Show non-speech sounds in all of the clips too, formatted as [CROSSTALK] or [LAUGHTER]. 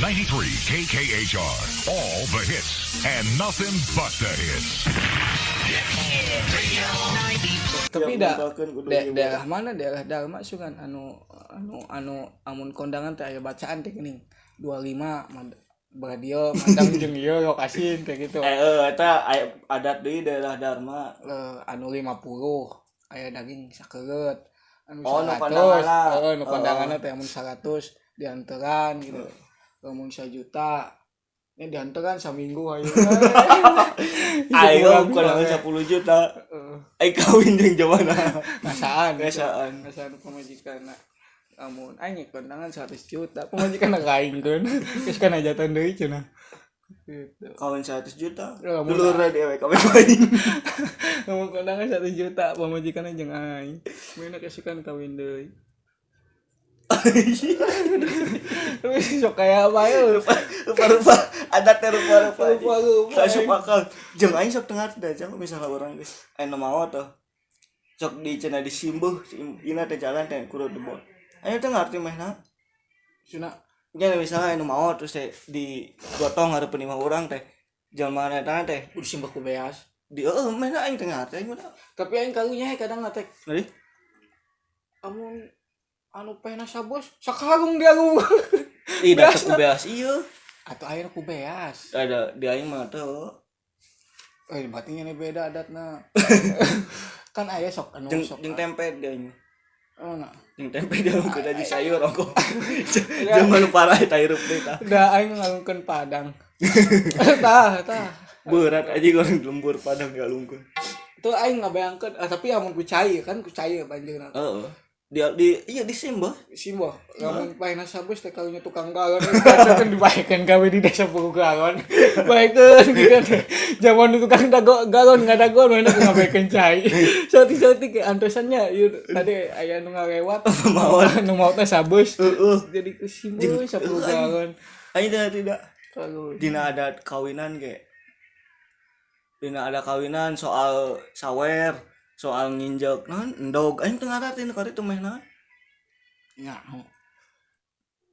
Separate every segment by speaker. Speaker 1: 93 KKHR. All the hits and nothing but the hits.
Speaker 2: tapi
Speaker 3: Yang
Speaker 2: da,
Speaker 3: membakeun kudu
Speaker 2: da-
Speaker 3: ieu
Speaker 2: daerah mana daerah Dalma sungan anu anu anu amun kondangan teh aya bacaan teh geuning 25 mad- beradio
Speaker 3: [LAUGHS]
Speaker 2: mandang iya, jeung ieu rok asin teh gitu
Speaker 3: eh eh, eta aya- adat di daerah Dharma
Speaker 2: Eh, anu 50 aya daging sakeureut anu
Speaker 3: Oh, nu
Speaker 2: 100
Speaker 3: kondanganna.
Speaker 2: heeh nu
Speaker 3: Oh. Eh.
Speaker 2: kondanganna teh amun 100 dianteran gitu lamun 1 juta ini dianteran saminggu ayo
Speaker 3: [LAUGHS] ayo
Speaker 2: eh.
Speaker 3: kurang 10 juta ayo kawin jeung jawana
Speaker 2: [LAUGHS] perasaan
Speaker 3: Rasaan.
Speaker 2: perasaan pemajikan namun aing kondangan 100 juta pemajikan [LAUGHS] aing kan geus kana jatan deui cenah gitu [LAUGHS]
Speaker 3: kawin 100 juta
Speaker 2: Ya, mun-
Speaker 3: dulur dewe eh, kawin [LAUGHS] kawin
Speaker 2: namun kondangan 1 juta pemajikan jeung aing mana kesukaan kawin deui [LAUGHS] Tapi sok kayak apa ya?
Speaker 3: rupa-rupa adatnya rupa-rupa
Speaker 2: Rupa-rupa. eh.
Speaker 3: tak sup akal jeung aing sok tengah teh jeung misalnya orang geus aya mau tuh sok di cenah disimbuh ina teh jalan teh kudu debon ayo teh ngarti meh na
Speaker 2: Cuna
Speaker 3: nya misalnya anu mau terus teh digotong hareupeun lima urang teh jalma eta teh
Speaker 2: udah simbah ku beas.
Speaker 3: di eueuh meh na aing teh ngarti aing mah na.
Speaker 2: Tapi aing kagunya kadang ngetek
Speaker 3: Nari?
Speaker 2: amun anu pena sabos sakarung dia lu.
Speaker 3: Ih, dah
Speaker 2: Beas,
Speaker 3: teku beas iya.
Speaker 2: [LAUGHS] Atau air ku beas.
Speaker 3: Ada di aing mah oh. tuh.
Speaker 2: Eh batinya nih beda [LAUGHS] adatna. kan aya sok anu
Speaker 3: Jeung
Speaker 2: sok. ah.
Speaker 3: jeung tempe di aing.
Speaker 2: Oh, nah.
Speaker 3: Jeung tempe di aing kuda di sayur rokok. Jangan parah eta hirup deui tah.
Speaker 2: Da aing ngalungkeun [LAUGHS] padang. tah tah.
Speaker 3: Berat aja orang lembur padang galungkeun.
Speaker 2: Tuh aing ngabayangkeun ah, tapi amun ku cai kan ku cai banjeurna.
Speaker 3: Heeh. Eh, Di di iya di simbah.
Speaker 2: Simbah, lamun pahina sabes teh kalunya tukang galon kan dibaikeun gawe di desa puluh [LAUGHS] galon. Baikeun gitu. Zaman nu tukang dago galon ngadagon mana ku ngabaikeun cai. Soti-soti ke antosannya ieu tadi aya nu [LAUGHS] ngalewat
Speaker 3: Mawon.
Speaker 2: nu mau teh sabes.
Speaker 3: Heeh.
Speaker 2: Jadi ku simbah 10 galon.
Speaker 3: Aing teh Eh, tidak
Speaker 2: Kalau
Speaker 3: dina adat kawinan ge. Dina ada kawinan soal sawer, soal nginjek naon endog aing teu ngaratin kari teu meh naon.
Speaker 2: nya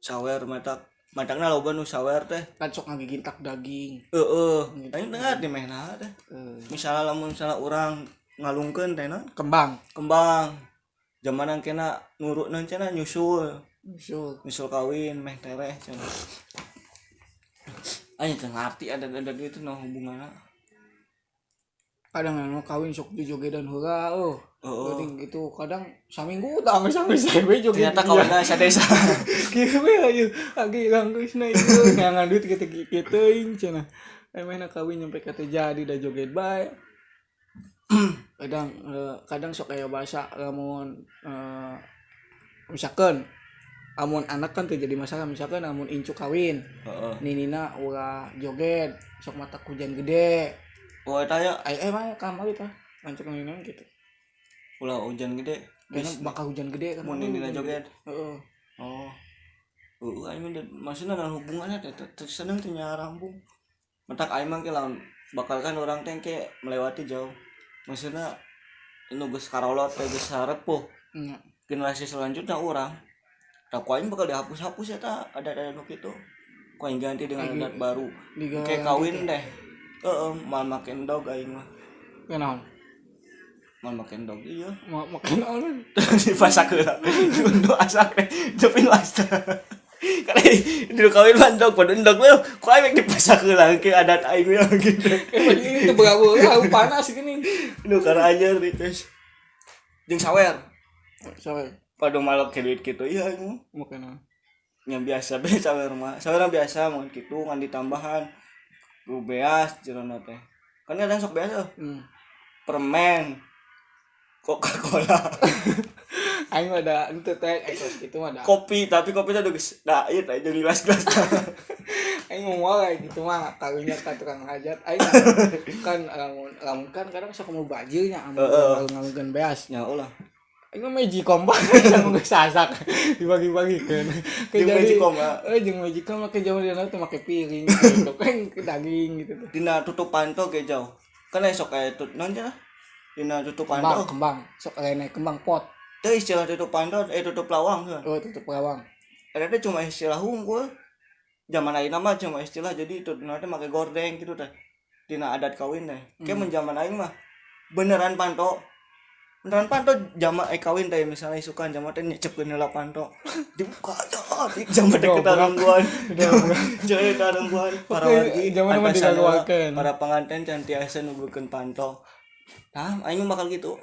Speaker 3: Sawer matak. Matakna loba nu sawer teh.
Speaker 2: kan sok ngagigintak daging.
Speaker 3: Heeh. Aing teu ngarti meh naon teh.
Speaker 2: Eh,
Speaker 3: misalnya lamun misalnya orang ngalungkeun teh naon
Speaker 2: kembang.
Speaker 3: kembang jamanan kena nurut naon cenah nyusul
Speaker 2: Usul.
Speaker 3: nyusul kawin meh tereh cenah Ayo teu ngarti ada ada itu no hubunganna
Speaker 2: kadang anu kawin sok di jogedan heula oh.
Speaker 3: Oh, oh.
Speaker 2: Penting gitu kadang saminggu tak nggak sampai sampai joget.
Speaker 3: ternyata kawanna sadesa
Speaker 2: Kieu we aja lagi gangguisna [LAUGHS] itu nyangan duit gitu gitu cenah. Emehna kawin nyampe kata jadi da joget bae. [CLEARS THROAT] kadang eh, kadang sok aya bahasa lamun eh, misalkan amun anak kan teu jadi masalah misalkan amun incu kawin
Speaker 3: Heeh.
Speaker 2: ninina ulah joget sok mata hujan gede eh,
Speaker 3: oh eta ya
Speaker 2: ayo emang kamari tah ngancuk ninina gitu
Speaker 3: ulah hujan gede
Speaker 2: karena
Speaker 3: geus
Speaker 2: bakal hujan gede kan
Speaker 3: mun nina joget
Speaker 2: Heeh.
Speaker 3: oh Heeh, aing mah da- maksudna naon hubunganna teh teu- teu seneng teh nya rambung mentak aing mah ke lawan bakal kan orang teh ke melewati jauh maksudna nu geus karolot teh geus harepuh
Speaker 2: Nya.
Speaker 3: generasi selanjutnya orang tak aing bakal dihapus-hapus eta adat-adat nu kitu ku aing ganti dengan adat baru
Speaker 2: Diganti.
Speaker 3: kayak kawin deh heeh mal make endog aing mah
Speaker 2: Kenaon?
Speaker 3: mal make endog iya
Speaker 2: Mau makan [LAUGHS] naon?
Speaker 3: di pasakura nu asak teh tapi nu asak karena di kawin mandok pada endog mah ku aing di pasakura ke adat aing mah gitu
Speaker 2: Ini tuh berapa? Aku panas gini.
Speaker 3: nu karena aja rites jeung sawer ya?
Speaker 2: Sorry,
Speaker 3: pada malok ke duit kitu iya aing mah.
Speaker 2: makan naon?
Speaker 3: yang biasa [LAUGHS] be sawer mah sawer mah biasa mun kitu ngan ditambahan ku beas jerona teh kan kadang sok beas eh.
Speaker 2: Hmm.
Speaker 3: permen coca cola
Speaker 2: Aing mah ada itu teh ekos gitu mah ada.
Speaker 3: [LAUGHS] kopi tapi kopi teh geus da ieu teh [LAUGHS] jeung gelas gelas
Speaker 2: Aing mau kayak gitu mah kalunya ka tukang hajat. Aing
Speaker 3: [LAUGHS]
Speaker 2: kan lamun lamun kan kadang sok mau bajilnya amun
Speaker 3: Heeh.
Speaker 2: ngalungkeun beas.
Speaker 3: nya ulah
Speaker 2: Aing mah meji [LAUGHS] kompak sama geus sasak
Speaker 3: [LAUGHS]
Speaker 2: dibagi-bagikeun. Ke
Speaker 3: Jeung
Speaker 2: jadi-
Speaker 3: magicom, ah.
Speaker 2: Eh jeung magicom mah ke jauh dia tuh make piring [LAUGHS] gitu kan ke daging gitu tuh.
Speaker 3: dina tutupan tuh ge jauh kan esok aya tut naon cenah dina tutupan
Speaker 2: Kembang,
Speaker 3: tuh
Speaker 2: kembang, sok lene kembang pot.
Speaker 3: teu istilah tutupan tuh eh tutup lawang kan
Speaker 2: Oh, tutup rawang.
Speaker 3: ada teh cuma istilah hungkul zaman aing mah cuma istilah jadi itu nanti make gordeng gitu teh tina adat kawin teh ke mun zaman aing mah beneran panto beneran panto jama eh kawin teh misalnya isukan jama teh nyecep nila panto dibuka aja di jama teh
Speaker 2: Dobrak.
Speaker 3: ketarungguan [LAUGHS]
Speaker 2: Dobrak.
Speaker 3: jadi ketarungguan para
Speaker 2: Oke,
Speaker 3: wargi
Speaker 2: jama mah
Speaker 3: atasan heula,
Speaker 2: dilaluakeun.
Speaker 3: para pengantin cantiasa nubukeun panto nah aing mah bakal gitu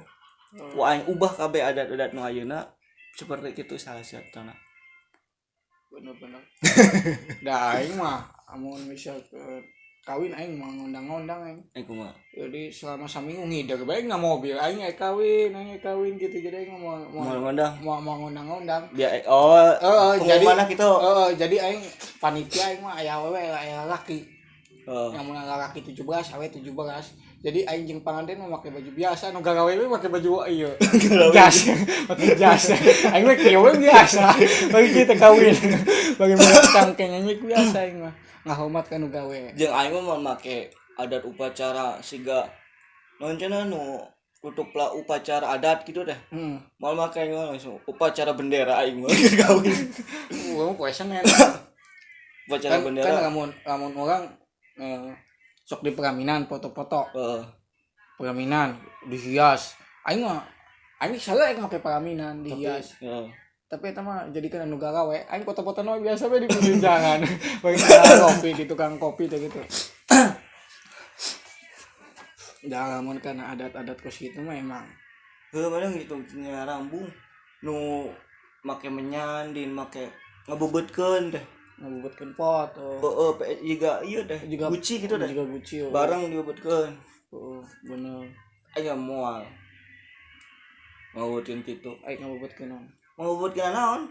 Speaker 3: Wah, aing ubah kabeh adat-adat nu ayeuna seperti itu salah satu
Speaker 2: bener-bener dah aing mah amun bisa kawin aing mah ngundang-ngundang aing
Speaker 3: eh kumaha
Speaker 2: jadi selama seminggu ngider baik nggak mobil aing aing kawin aing aing kawin gitu jadi aing mau mau
Speaker 3: Moal mandah.
Speaker 2: mau mau ngundang-ngundang
Speaker 3: Biar oh,
Speaker 2: oh, jadi
Speaker 3: pengumumannya gitu.
Speaker 2: oh, oh, jadi aing panitia aing mah aya awewe aya laki
Speaker 3: Oh.
Speaker 2: yang mulai laki 17 awe 17 jadi aing jeung panganten memakai baju biasa nu garawe we make baju ieu
Speaker 3: [LAUGHS]
Speaker 2: jas make jas aing mah kieu we biasa bagi kita kawin bagi mulai cangkengan nya biasa aing mah ngahormat ka nu gawe
Speaker 3: Jeung aing mah make adat upacara siga naon cenah nu kutuplah upacara adat gitu deh.
Speaker 2: hmm
Speaker 3: Mal make aing mah langsung upacara bendera aing mah [LAUGHS] kawin.
Speaker 2: gua mah poesan kan
Speaker 3: Upacara
Speaker 2: kan kan
Speaker 3: bendera.
Speaker 2: lamun lamun orang eh, sok di peraminan foto-foto
Speaker 3: Heeh.
Speaker 2: peraminan dihias aing mah aing salah aing ngapain peraminan dihias
Speaker 3: Heeh.
Speaker 2: tapi eta mah jadi kena nu gawe aing foto-foto nu biasa we di pinggir [LAUGHS] jalan bagi tukang kopi di tukang kopi teh gitu [CLEARS THROAT] dah lamun kana adat-adat kos gitu mah emang
Speaker 3: Heuh mana gitu nya rambung nu make menyandin make ngebebetkeun deh.
Speaker 2: ngabubutkeun foto
Speaker 3: Heeh, pe- juga iya deh.
Speaker 2: Juga-
Speaker 3: Guci gitu deh.
Speaker 2: juga guci oh.
Speaker 3: Barang dibebetkeun.
Speaker 2: Oh, bener
Speaker 3: Aya moal. Ngawutin gitu.
Speaker 2: aing ngabubutkeun oh. naon.
Speaker 3: Ngawut kena naon?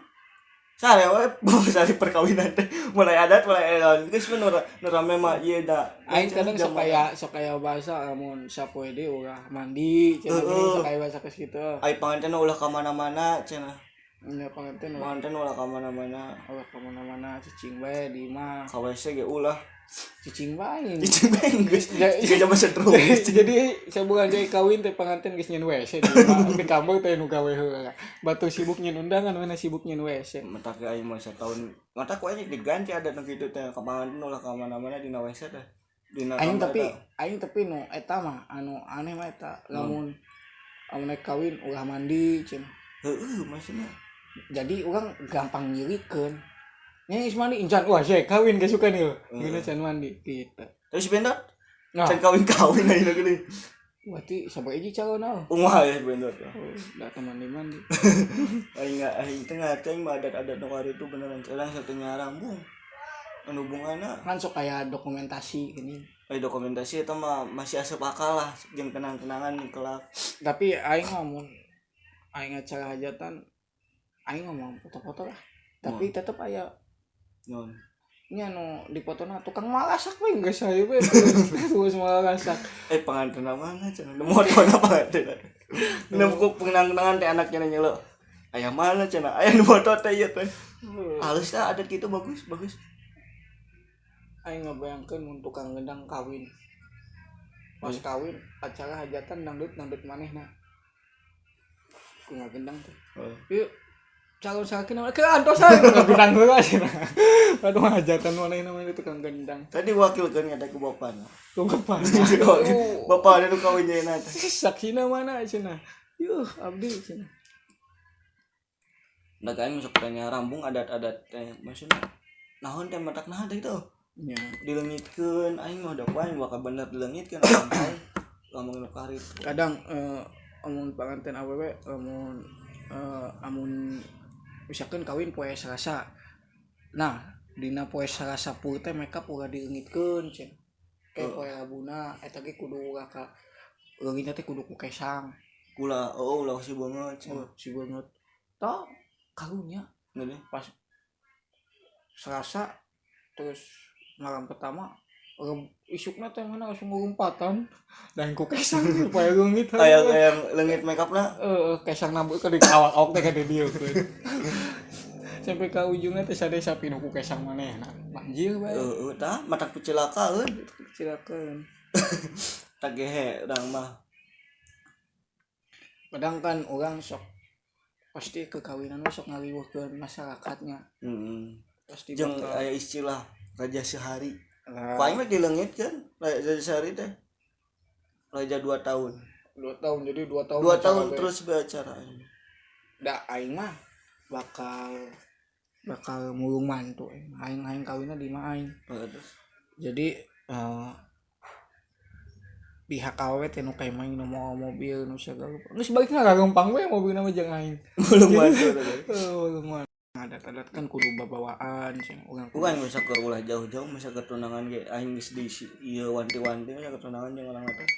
Speaker 3: Sare [LAUGHS] we bos dari perkawinan teh mulai adat mulai elon. Geus mun nur nur rame mah ieu da.
Speaker 2: Aing kadang sok kaya sok kaya bahasa lamun sapoe deui urang mandi cenah
Speaker 3: Heeh.
Speaker 2: gini, sok kaya bahasa ke situ.
Speaker 3: Ai panganten ulah ka mana-mana cenah.
Speaker 2: Nya panganten ulah
Speaker 3: Panganten ulah ka mana-mana.
Speaker 2: ulah ka mana-mana cicing bae di imah.
Speaker 3: Ka WC ge ulah. [LAUGHS]
Speaker 2: Cicing bae.
Speaker 3: Itu beng geus.
Speaker 2: Ya,
Speaker 3: Geus jaman setrum.
Speaker 2: [LAUGHS] Jadi sabukan jadi kawin teh panganten geus nyeun WC di imah. di kampung teh nu gawe heula. Batu sibuk nyeun undangan mana sibuk nyeun WC.
Speaker 3: Mata ke aing mah sataun. Mata ku aing diganti adat nu kitu teh. Ka panganten ulah ka mana-mana dina WC teh. Dina
Speaker 2: Aing
Speaker 3: kamar
Speaker 2: tapi
Speaker 3: da.
Speaker 2: aing tapi nu eta mah anu aneh mah eta lamun lamun naik kawin ulah mandi cenah.
Speaker 3: heueuh maksudnya.
Speaker 2: jadi orang gampang nyirikan Nya is mandi incan wah saya kawin gak suka nih gini can mandi gitu
Speaker 3: Terus bendot.
Speaker 2: nah
Speaker 3: Can kawin-kawin aing nu geuning.
Speaker 2: berarti sampai aja calon oh. naon
Speaker 3: Umaha ya bendot. ya.
Speaker 2: udah teman di mandi
Speaker 3: Aing nggak aing teh ngerti aing mah adat-adat nu kari itu beneran cerang satu nyarang bung. Anu hubunganna
Speaker 2: kan sok kayak dokumentasi gini
Speaker 3: eh dokumentasi eta mah masih asup akal lah jeung kenang-kenangan nu kelak.
Speaker 2: tapi aing ngomong aing acara hajatan aing ngomong foto-foto lah tapi tetep aya
Speaker 3: Nyon.
Speaker 2: nya nu di fotona tukang malasak we geus saya we terus malasak
Speaker 3: Eh pengantin mana cenah nemu motor apa cenah. Nemu ku kenang-kenangan teh anak cenah nyelo. Aya mana cenah? Aya nu motor teh ieu teh. Halus tah adat kitu bagus bagus.
Speaker 2: aing ngebayangkeun mun tukang gendang kawin pas kawin acara hajatan dangdut dangdut manehna kumaha gendang tuh yuk calon sakin nama ke antos aja tukang gendang heula cenah aduh hajatan manehna mah tukang gendang
Speaker 3: Tadi wakil kan ada ke bapana.
Speaker 2: ku kepan [LAUGHS]
Speaker 3: Bapak ada nu kawin jeung teh.
Speaker 2: saksina mana cenah yuh abdi cenah
Speaker 3: Nah, kami masuk tanya rambung adat-adat teh maksudnya. Naon teh matak naon teh gitu.
Speaker 2: nya
Speaker 3: dilengitkan aing mah udah kuaing bakal bener [COUGHS] dilengitkan sampai ngomong nu karit
Speaker 2: kadang eh, amun panganten awewe amun eh, amun misalkan kawin poe Selasa nah dina poe Selasa pur teh makeup ulah dileungitkeun cen kayak poe Rabuna eta ge kudu ulah ka leungitna teh kudu ku kesang
Speaker 3: kula oh ulah sih banget sih
Speaker 2: oh, si banget tah karunya
Speaker 3: ngene
Speaker 2: pas Selasa terus malam pertama reb- isukna teh mana langsung ngurumpatan dan ku [LAUGHS] kesang poe leungit
Speaker 3: kayak kayak lengit make up lah
Speaker 2: eh kesang nambut ke di awak awak teh kada dieu
Speaker 3: [LAUGHS]
Speaker 2: keun. Sampai ke ujungnya teh sadaya sapi nu ku kesang manehna.
Speaker 3: eh
Speaker 2: Manjil bae.
Speaker 3: eh tah matak pucelaka euy
Speaker 2: Silakeun.
Speaker 3: tak gehe urang mah
Speaker 2: Padahal kan orang sok pasti kekawinan mah sok ngaliweuhkeun masyarakatnya.
Speaker 3: heeh
Speaker 2: Pasti
Speaker 3: jeung
Speaker 2: bakal
Speaker 3: aya istilah raja sehari
Speaker 2: Nah,
Speaker 3: ku aing mah dilengit kan raja sehari teh raja dua tahun
Speaker 2: dua tahun jadi dua tahun
Speaker 3: dua
Speaker 2: acara
Speaker 3: tahun
Speaker 2: bae.
Speaker 3: terus beracara aing.
Speaker 2: da aing mah bakal bakal mulung mantu aing mah. aing aing kawinnya di mah aing
Speaker 3: Nah, terus
Speaker 2: jadi eh, pihak awet yang kayak main nu mau mobil nu segala nggak sebaliknya nggak gampang gue mobil nama jangan aing [LAUGHS]
Speaker 3: belum ada
Speaker 2: oh adat-adat kan kudu babawaan sih orang kudu
Speaker 3: Bukan masa ke ulah jauh-jauh masa ke tunangan ge aing geus di ieu wanti-wanti masa ke tunangan jeung urang teh.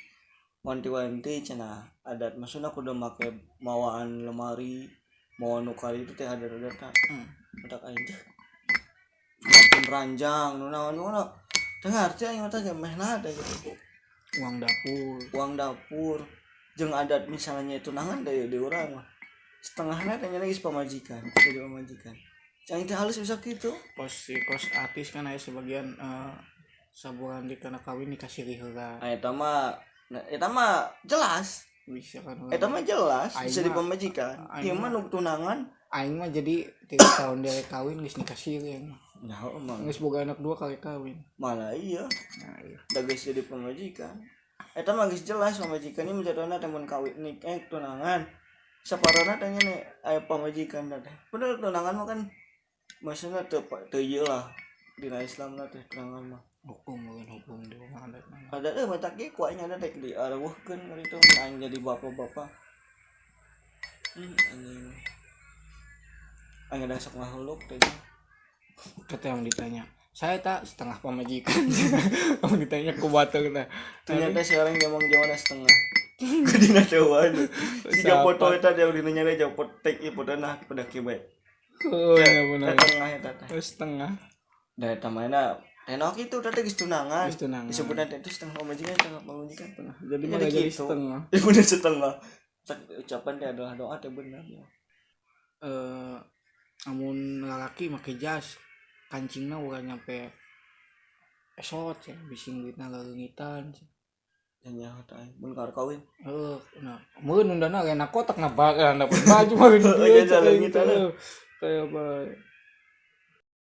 Speaker 3: Wanti-wanti cenah adat maksudna kudu make mawaan lemari mau nu kali itu teh adat-adat kan.
Speaker 2: Hmm.
Speaker 3: Budak aing teh. Makin ranjang nu naon nu naon. Dengar teh aing mah teh meh nada gitu.
Speaker 2: uang dapur
Speaker 3: Uang dapur jeung adat misalnya tunangan deh di urang mah. Setengahna teh nya geus pamajikan, jadi pamajikan. Cang teh halus bisa gitu.
Speaker 2: kos si kos artis kan aya sebagian eh, saburan di kana kawin dikasih rihela
Speaker 3: Nah, eta mah nah, eta mah jelas.
Speaker 2: bisa kan urang.
Speaker 3: Eta mah jelas
Speaker 2: Aing
Speaker 3: bisa
Speaker 2: mah-
Speaker 3: dipamajikan.
Speaker 2: aing
Speaker 3: Ieu mah nu tunangan.
Speaker 2: aing mah jadi tiga tahun dari kawin geus nikah sireng
Speaker 3: Nah, emang
Speaker 2: geus boga anak dua kali kawin
Speaker 3: malah iya
Speaker 2: nah iya
Speaker 3: da geus jadi pamajikan. Eta mah geus jelas pamajikan ieu menjadona teh mun kawin nik eh tunangan. Saparona teh nya aya pamajikan da teh. Bener tunangan mah kan maksudna teu pa- teu ieu lah dina Islam lah teh tunangan mah.
Speaker 2: hukum mungkin hukum di rumah adat mah.
Speaker 3: Ada eh mata ge kuatnya ada teh diareuhkeun ka ditu aing jadi bapak-bapak. Hmm, anjing. Aing ada sok makhluk teh.
Speaker 2: kata yang ditanya saya tak setengah [LAUGHS] pemajikan kamu ditanya ku batal nah
Speaker 3: Ternyata sekarang dia mau jawaban setengah. [LAUGHS] Kedina jawaban. Jika
Speaker 2: Siapa?
Speaker 3: foto eta dia udah nanya dia foto tek ieu foto nah pada kibat.
Speaker 2: oh ya benar
Speaker 3: Setengah eta teh.
Speaker 2: Terus setengah
Speaker 3: Da eta mah na Tenok itu tadi geus tunangan.
Speaker 2: Geus tunangan.
Speaker 3: Disebutna teh itu setengah pemajikan, setengah pemajikan.
Speaker 2: jadi
Speaker 3: Jadi
Speaker 2: malah jadi
Speaker 3: gitu.
Speaker 2: setengah
Speaker 3: Ya bener setengah. Tak ucapan teh adalah doa teh bener. ya.
Speaker 2: eh namun lelaki pakai jas kancingnya udah nyampe esot ya bising duitnya leungitan
Speaker 3: Dan nyaho teh mun kar kawin.
Speaker 2: eh nah [LAUGHS] mun undana enak kotak nah bakal dapat nah, baju mah
Speaker 3: Iya,
Speaker 2: gitu
Speaker 3: leungitan.
Speaker 2: kayak apa